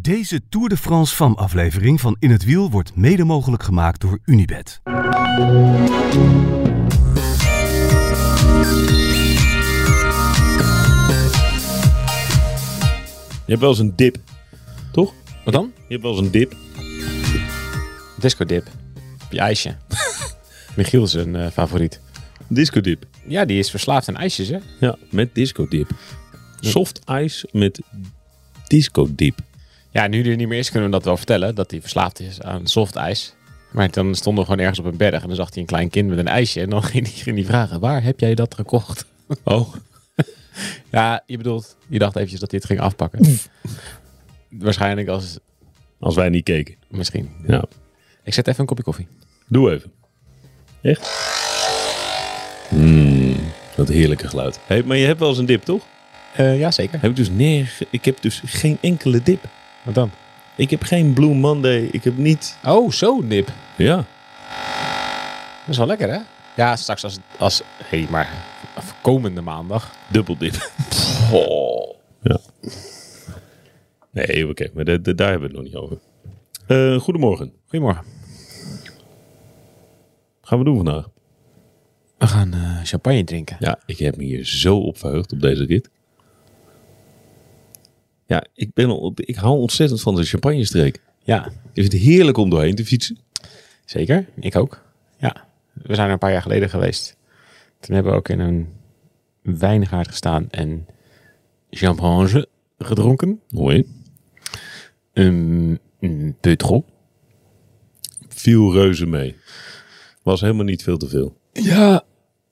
Deze Tour de France FAM aflevering van In het Wiel wordt mede mogelijk gemaakt door Unibed. Je hebt wel eens een dip, toch? Wat dan? Je hebt wel eens een dip. Disco dip. Op je ijsje. Michiel zijn eh, favoriet. Disco dip. Ja, die is verslaafd aan ijsjes, hè? Ja, met disco dip. Soft ice met disco dip. Ja, nu die er niet meer is, kunnen we dat wel vertellen. Dat hij verslaafd is aan softijs. Maar dan stonden we gewoon ergens op een berg en dan zag hij een klein kind met een ijsje. En dan ging hij, ging hij vragen, waar heb jij dat gekocht? Oh, Ja, je bedoelt, je dacht eventjes dat hij het ging afpakken. Waarschijnlijk als, als wij niet keken. misschien. Ja, Ik zet even een kopje koffie. doe even. Echt? Mm, dat heerlijke geluid. Hey, maar je hebt wel eens een dip, toch? Eh ja, zeker. Heb ik, dus nerg- ik heb dus geen enkele dip. Wat dan? Ik heb geen Blue Monday. Ik heb niet... Oh, zo'n dip. Ja, Dat is wel lekker, hè? Ja, straks als... als Hé, hey, maar komende maandag. dubbel dip. Ja. Nee, oké. maar da- da- daar hebben we het nog niet over. Eh, goedemorgen. Goedemorgen. Gaan we doen vandaag? We gaan eh, champagne drinken. Ja, ik heb me hier zo op verheugd op deze rit. Ja, ik, ben, al- ik hou ontzettend van de champagnestreek. Ja, Ik vind het heerlijk om doorheen te fietsen. zeker. Ik ook. Ja, we zijn er een paar jaar geleden geweest. Toen hebben we ook in een wijngaard gestaan en champagne gedronken. Mooi. Een een peutron. Viel reuze mee. Was helemaal niet veel te veel. Ja,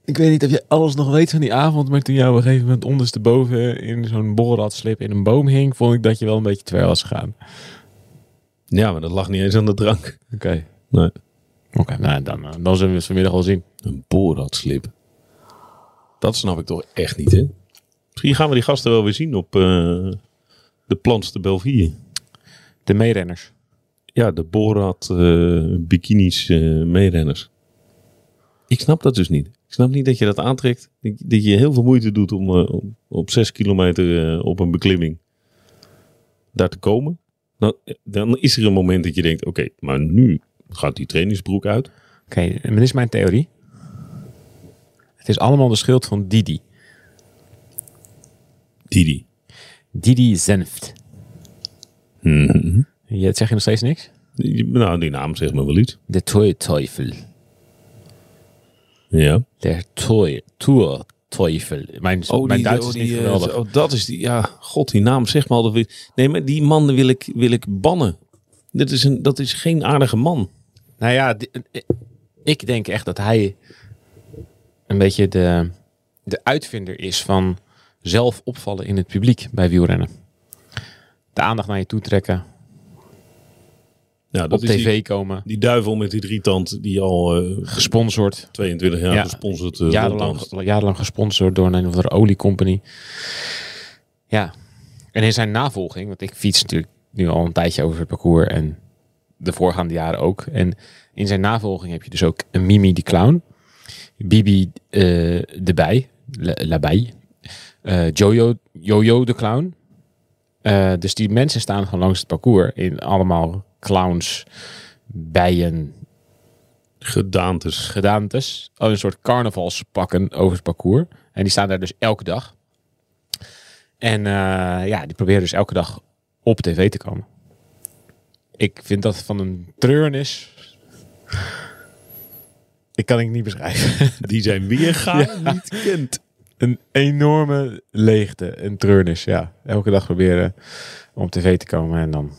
ik weet niet of je alles nog weet van die avond, maar toen jou op een gegeven moment ondersteboven in zo'n borrelatslip in een boom hing, vond ik dat je wel een beetje twer was gegaan. Ja, maar dat lag niet eens aan de drank. Oké. Nee. Oké, nou dan, eh, dan zullen we het vanmiddag al zien. Een boratslip. Dat snap ik toch echt niet, hè? Misschien gaan we die gasten wel weer zien op eh, de Plans de Belleville. De meerenners. Ja, de Borat eh, bikinis eh meerenners. Ik snap dat dus niet. Ik snap niet dat je dat aantrekt. Dat je- Dat je heel veel moeite doet om eh, op, op zes kilometer eh, op een beklimming daar te komen. Dan, dan is er een moment dat je denkt, oké, maar nu gaat die trainingsbroek uit. Oké, maar dit is mijn theorie. Het is allemaal de schuld van Didi. Didi. Didi Zenft. Mhm. Je, zeg je nog steeds niks? Je- Nou, die naam zegt me wel iets. De Toerteufel. Ja. De toy, Toerteufel. Mijn, mijn die- Duits oh, is die, niet eh, geweldig. oh, dat is die. Ja, god, die naam zeg maar altijd weer. Nee, maar die man wil ik, wil ik bannen. Dat is, een, dat is geen aardige man. nou ja, di- eh, ik denk echt dat hij een beetje de, de uitvinder is van zelf opvallen in het publiek bij wielrennen. De aandacht naar je toe trekken, Ja, dat op is tv Die, komen, die duivel met die drietand die al eh, gesponsord. 22 jaar Ja, gesponsord eh, jarenlang, ronddanst. jarenlang gesponsord door een of andere oliecompany. Ja. En in zijn navolging, want ik fiets natuurlijk nu al een tijdje over het parcours en de voorgaande jaren ook. En in zijn navolging heb je dus ook een Mimi de Clown, Bibi eh de Bij, La- Labai, eh, Jojo, Jojo de Clown. Eh, dus die mensen staan gewoon langs het parcours in allemaal clowns, bijen, Gedaantes. gedaantes. Oh, een soort carnavalspakken over het parcours. En die staan daar dus elke dag. En eh, ja, die proberen dus elke dag op tv te komen. Ik vind dat van een treurnis. Ik kan het niet beschrijven. Die zijn weer gaan niet kent. Een enorme leegte, een treurnis, ja. Elke dag proberen om op tv te komen en dan...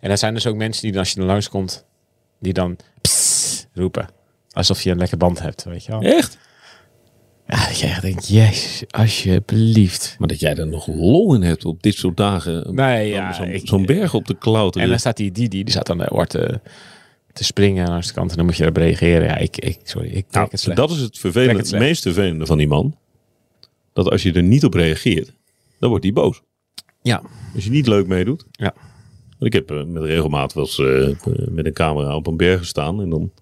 En er zijn dus ook mensen die dan, als je er langskomt, die dan "Psst" roepen. Alsof je een lekker band hebt, weet je wel. Echt? Ja, dat je echt denkt, jezus, alsjeblieft. Maar dat jij er nog lol in hebt op dit soort dagen. Nee, om ja. zo'n, ik- zo'n berg op te klauteren. en dan staat die Didi, die staat aan de oor te, te springen langs de kant. En dan moet je erop reageren. Ja, ik, ik sorry, ik trek Nou, het slecht. dat is het, Trek vervelende, het het, slecht. meest vervelende van die man. Dat als je er niet op reageert, dan wordt hij boos. Ja. Als je niet leuk meedoet. Ja. Want ik heb eh, met regelmaat wel eens eh, eh, met een camera op een berg gestaan. En dan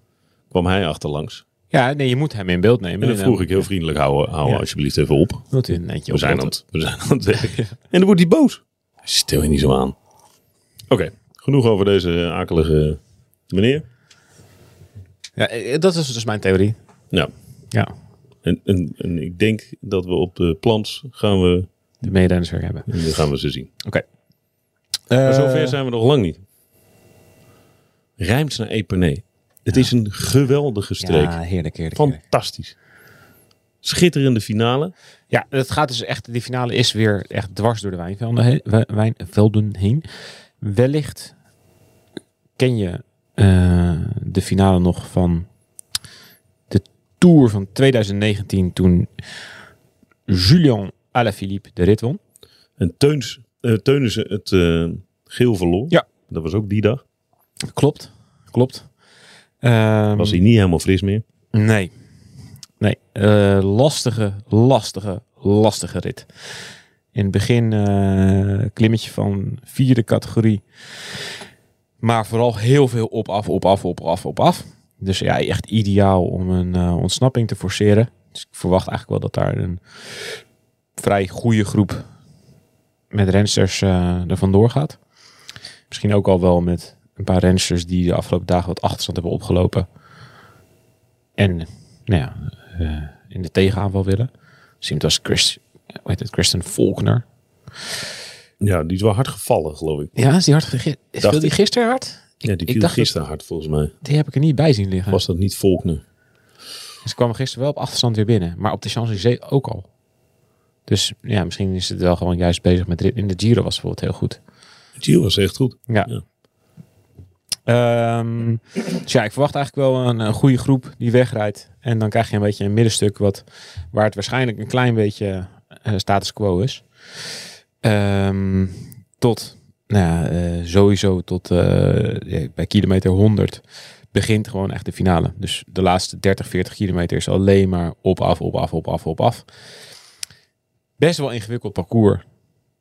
kwam hij achterlangs. ja, nee, je moet hem in beeld nemen. En dan vroeg ik heel vriendelijk, hou, eh, hou Ja. alsjeblieft even op. Doet u een We eindje op. zijn, aan het, we zijn aan het werk. En dan wordt hij boos. Stil je niet zo aan. genoeg over deze akelige meneer. Ja, eh, dat is dus mijn theorie. Ja, Ja, Nou, en, en, en ik denk dat we op de plans gaan we, de mededelers weer hebben. Eh, die gaan we ze zien. Oké. Maar zover zijn we nog lang niet. Rijmt naar Epernay. Het is een geweldige streek. Ja, heerlijk, heerlijk. heerlijk. Fantastisch. Schitterende finale. Ja, het gaat dus echt, die finale is weer echt dwars door de wijnvelden heen. wij- wijnvelden heen. Wellicht ken je eh, de finale nog van de Tour van 2019 toen Julien Alaphilippe de rit won. En Teuns, eh, Teunissen het eh, geel verloor. Ja. Mm. Dat was ook die dag. Klopt, klopt. Ehm, Was hij niet helemaal fris meer. Nee. Nee. Eh, lastige, lastige, lastige rit. In het begin eh, klimmetje van vierde categorie. Maar vooral heel veel op, af, op, af, op, af, op, af. Dus ja, echt ideaal om een eh, ontsnapping te forceren. Dus ik verwacht eigenlijk wel dat daar een vrij goede groep met rensters eh er vandoor gaat. Misschien ook al wel met een paar rensters die de afgelopen dagen wat achterstand hebben opgelopen. En nou ja, eh, in de tegenaanval willen. Misschien was Chris, hoe heet het, Kristen Faulkner. Ja, die is wel hard gevallen, geloof ik. Ja, is die hard gege- Speelde die ik. gisteren hard? Ik, Ja, die ik viel dacht, gisteren hard volgens mij. die heb ik er niet bij zien liggen. Was dat niet Volkner? Ze kwamen gisteren wel op achterstand weer binnen. Maar op de Champs-Élysées ook al. Dus ja, misschien is het wel gewoon juist bezig met rit. In de Giro was het bijvoorbeeld heel goed. Gio was echt goed. Ja. Ja. Ehm, dus ja, ik verwacht eigenlijk wel een, een goede groep die wegrijdt. En dan krijg je een beetje een middenstuk wat, waar het waarschijnlijk een klein beetje eh, status quo is. Ehm, tot, nou ja, eh, sowieso tot eh, ja, bij kilometer 100 begint gewoon echt de finale. Dus de laatste 30, 40 kilometer is alleen maar op, af, op, af, op, af, op, af. Best wel ingewikkeld parcours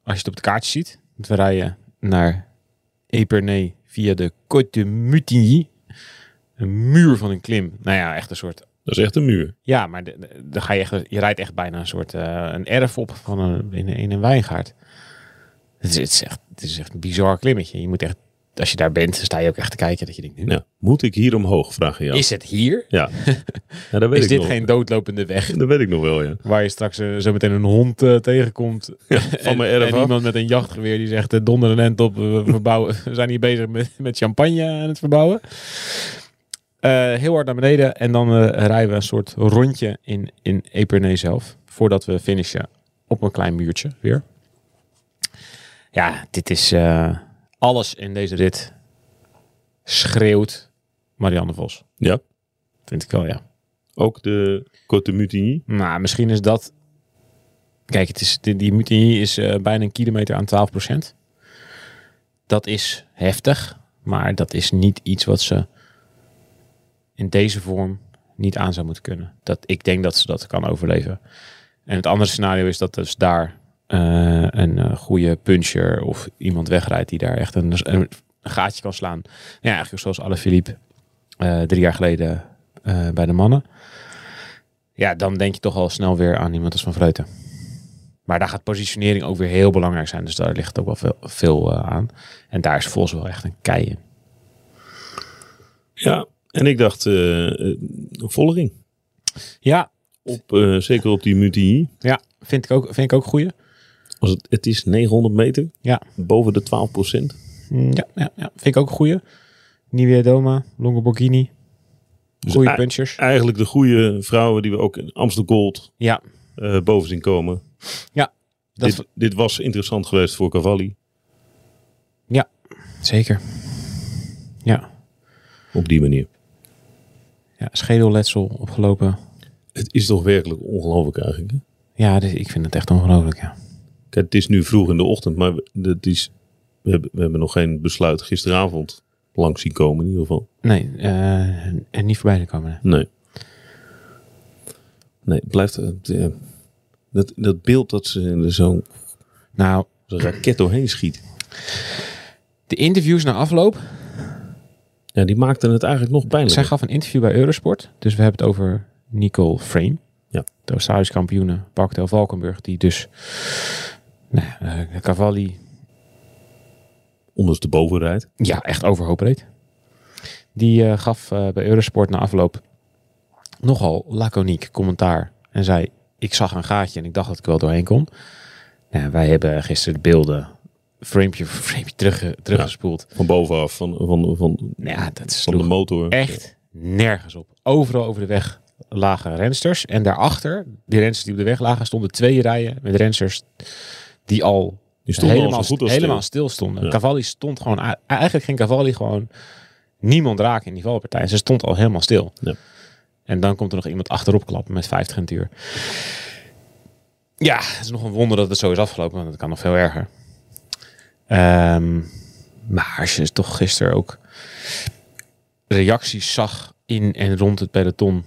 als je het op het kaartje ziet. Want we rijden naar Epernay via de Côte de Mutigny. Een muur van een klim. Nou ja, echt een soort... Dat is echt een muur. Ja, maar de- de- dan ga je, echt, je rijdt echt bijna een soort eh, een erf op van een, in, in een wijngaard. Het is, het, is echt, het is echt een bizar klimmetje. Je moet echt, als je daar bent, dan sta je ook echt te kijken dat je denkt, nu, Ja. Moet ik hier omhoog, vraag je jou. is het hier? Ja. ja dat weet Is ik dit nog. geen doodlopende weg? Dat weet ik nog wel, ja. Waar je straks eh, zo meteen een hond eh, tegenkomt. Van mijn en erf af. iemand met een jachtgeweer die zegt: eh, donder een end op, we, verbouwen. we zijn hier bezig met, met champagne aan het verbouwen. Eh, heel hard naar beneden en dan eh, rijden we een soort rondje in, in Epernay zelf. Voordat we finishen op een klein muurtje weer. Ja, dit is eh, alles in deze rit. Schreeuwt Marianne Vos. Ja. Vind ik wel, ja. Ook de Côte de Mutigny. Nou, misschien is dat. Kijk, het is, die, die mutinie is eh, bijna een kilometer aan 12%. Dat is heftig, maar dat is niet iets wat ze in deze vorm niet aan zou moeten kunnen. Dat, ik denk dat ze dat kan overleven. En het andere scenario is dat dus daar eh, een eh, goede puncher of iemand wegrijdt die daar echt een, een gaatje kan slaan. Ja, eigenlijk zoals Alaphilippe eh drie jaar geleden eh, bij de mannen. Ja, dan denk je toch al snel weer aan iemand als Van Vleuten. Maar daar gaat positionering ook weer heel belangrijk zijn. Dus daar ligt ook wel veel, veel eh, aan. En daar is Vos wel echt een kei in. Ja. En ik dacht, eh, eh, een volle ring. Ja, Op, eh, zeker op die Mutigny. ja vind ik ook, vind ik ook goeie. Als het, het is 900 meter. Ja. Boven de 12 procent. Mm, Ja, ja, ja, vind ik ook een goeie. Nivea Doma, Longo Borghini. Goeie ei- punchers. Eigenlijk de goede vrouwen die we ook in Amsterdam Gold Ja, eh, boven zien komen. dat dit, dit was interessant geweest voor Cavalli. zeker. Ja. Op die manier. ja, schedelletsel opgelopen. Het is toch werkelijk ongelooflijk eigenlijk. hè? Ja, dit- ik vind het echt ongelooflijk, ja. Kijk, het is nu vroeg in de ochtend, maar we- dat is, we, hebben, we hebben nog geen besluit gisteravond langs zien komen in ieder geval. Nee, eh, en niet voorbij te komen. hè. Nee. Nee, het blijft... eh, het, eh, dat, dat beeld dat ze er zo'n Nou, zo'n raket doorheen schiet. de interviews na afloop Ja, die maakten het eigenlijk nog pijnlijker. Zij gaf een interview bij Eurosport. Dus we hebben het over Nicole Frame. Ja. De Australische kampioene Parkdel Valkenburg. Die dus nou, ja, eh, Cavalli ondersteboven rijdt. Ja, echt overhoop reed. Die eh, gaf eh, bij Eurosport na afloop nogal laconiek commentaar. En zei, ik zag een gaatje en ik dacht dat ik wel doorheen kon. Nou, wij hebben gisteren de beelden framepje voor framepje terugge- teruggespoeld. Van bovenaf, van, van, van, Nou ja, dat is van de motor. echt nergens op. Overal over de weg lagen rensters. En daarachter, die rensters die op de weg lagen, stonden twee rijen met rensters die al Die stonden helemaal, al zo goed als stil. helemaal stil stonden. Ja. Cavalli stond gewoon, eigenlijk ging Cavalli gewoon niemand raken in die valpartij. Ze stond al helemaal stil. Ja. En dan komt er nog iemand achterop klappen met 50 in het uur. Ja, het is nog een wonder dat het zo is afgelopen, want het kan nog veel erger. Ehm, maar als je toch gisteren ook reacties zag in en rond het peloton,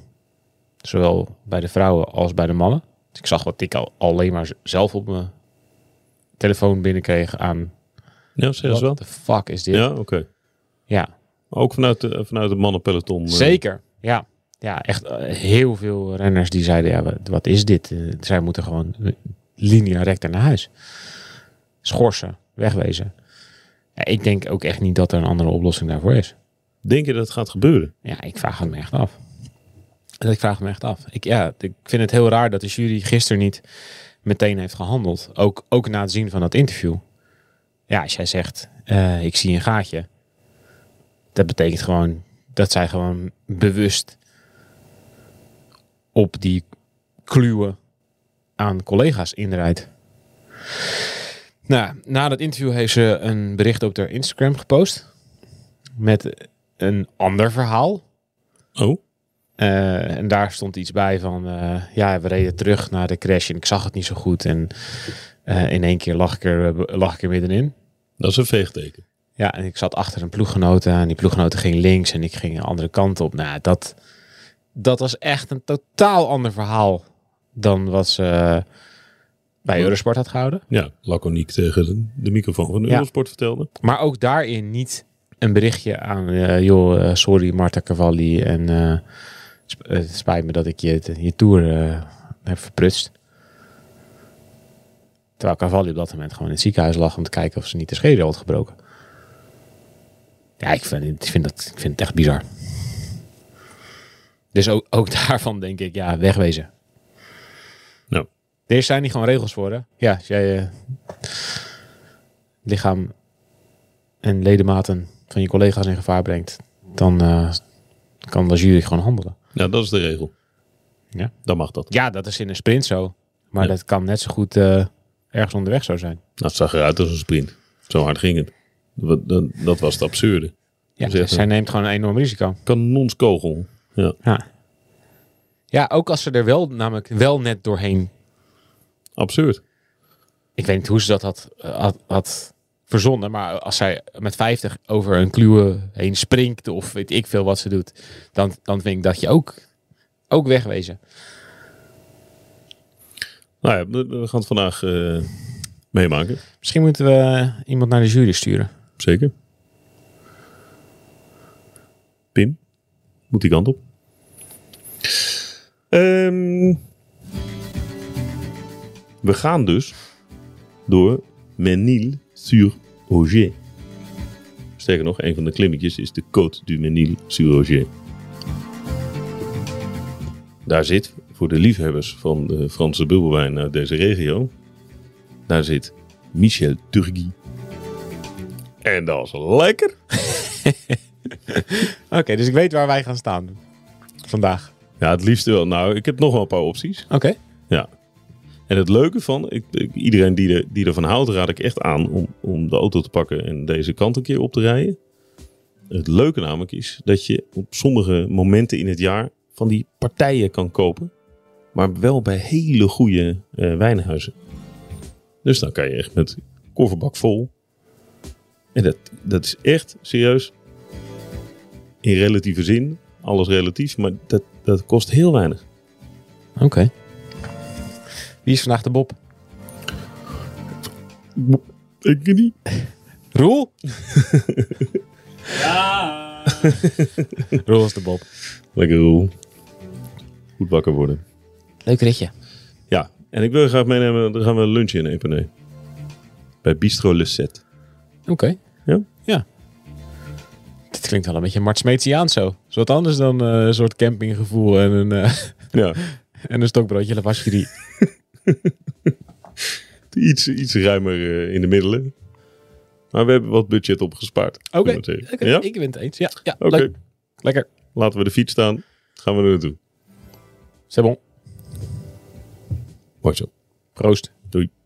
zowel bij de vrouwen als bij de mannen. Dus ik zag wat ik al, alleen maar z- zelf op mijn telefoon binnenkreeg aan. Ja, zeg eens wel. What the fuck is dit? Ja, oké. ja. Ook vanuit, de, vanuit het mannenpeloton. eh, Zeker, ja. Ja, echt eh, heel veel renners die zeiden, ja, wat- wat is dit? Eh, Zij moeten gewoon eh, linea recta naar huis. Schorsen, wegwezen. Ja, ik denk ook echt niet dat er een andere oplossing daarvoor is. Denk je dat het gaat gebeuren? Ja, ik vraag het me echt af. Dat Ik vraag het me echt af. Ik, ja, ik vind het heel raar dat de jury gisteren niet meteen heeft gehandeld. Ook, ook na het zien van dat interview. Ja, als jij zegt, eh, ik zie een gaatje. Dat betekent gewoon dat zij gewoon bewust op die kluwen aan collega's inrijdt. Nou, na dat interview heeft ze een bericht op haar Instagram gepost. Met een ander verhaal. Oh, Eh, en daar stond iets bij van, eh, ja, we reden terug naar de crash en ik zag het niet zo goed. En eh, in één keer lag ik, er, eh, lag ik er middenin. dat is een veegteken. Ja, en ik zat achter een ploeggenoot aan. Die ploeggenoot ging links en ik ging de andere kant op. Nou, dat, dat was echt een totaal ander verhaal dan wat ze eh, bij Eurosport had gehouden. Ja, laconiek tegen de microfoon van de Ja. Eurosport vertelde. Maar ook daarin niet een berichtje aan, eh, joh, eh, sorry Marta Cavalli. En eh, sp- eh, het spijt me dat ik je, je tour eh, heb verprutst. Terwijl Cavalli op dat moment gewoon in het ziekenhuis lag om te kijken of ze niet de schedel had gebroken. Ja, ik vind, ik vind, dat, ik vind het echt bizar. Dus ook, ook daarvan denk ik, ja, wegwezen. Nou, Er zijn hier gewoon regels voor, hè? Ja, als jij eh, lichaam en ledematen van je collega's in gevaar brengt, dan eh, kan de jury gewoon handelen. nou, dat is de regel. Ja. Dan mag dat. Ja, dat is in een sprint zo. Maar Ja. dat kan net zo goed eh, ergens onderweg zo zijn. Nou, het zag eruit als een sprint. Zo hard ging het. Dat, dat, dat was het absurde. Ja, Zeg maar. Dus zij neemt gewoon een enorm risico. Kanonskogel. Ja, Ja. ja, ook als ze er wel namelijk wel net doorheen... absurd. Ik weet niet hoe ze dat had, eh, had, had verzonnen, maar als zij met 50 over een kluwe heen springt of weet ik veel wat ze doet, dan, dan vind ik dat je ook, ook wegwezen. Nou ja, we, we gaan het vandaag eh, meemaken. Misschien moeten we eh, iemand naar de jury sturen. Zeker. Pim, moet die kant op. Ehm, we gaan dus door Menil sur Auger. Sterker nog, een van de klimmetjes is de Côte du Menil sur Auger. Daar zit, voor de liefhebbers van de Franse bubbelwijn uit deze regio, daar zit Michel Turgis. En dat is lekker. Oké, dus ik weet waar wij gaan staan vandaag. Ja, het liefst wel. Nou, ik heb nog wel een paar opties. Oké. Ja. En het leuke van, ik, ik- iedereen die, er, die ervan houdt, raad ik echt aan om, om de auto te pakken en deze kant een keer op te rijden. Het leuke namelijk is dat je op sommige momenten in het jaar van die partijen kan kopen. Maar wel bij hele goede eh, wijnhuizen. Dus dan kan je echt met kofferbak vol. En dat, dat is echt serieus. In relatieve zin, alles relatief, maar dat, dat kost heel weinig. Oké. Wie is vandaag de Bob? Ik weet niet. Roel? ja! Roel is de Bob. Lekker roel. Goed wakker worden. Leuk ritje. Ja, en ik wil graag meenemen, dan gaan we lunchen in Epenay. Bij Bistro Le Set. Oké. Ja? Ja. Dit klinkt wel een beetje Mart Smeetsiaans zo. Is wat anders dan eh, een soort campinggevoel en een, eh, Ja. en een stokbroodje lavashkiri. Iets, iets ruimer eh, in de middelen. Maar we hebben wat budget opgespaard. Oké, kunnen we oké, zeggen. Ja? ik ben het eens. Ja, ja Oké, leuk. lekker. laten we de fiets staan. Gaan we er naartoe. C'est bon. Mooi zo. Proost. Doei.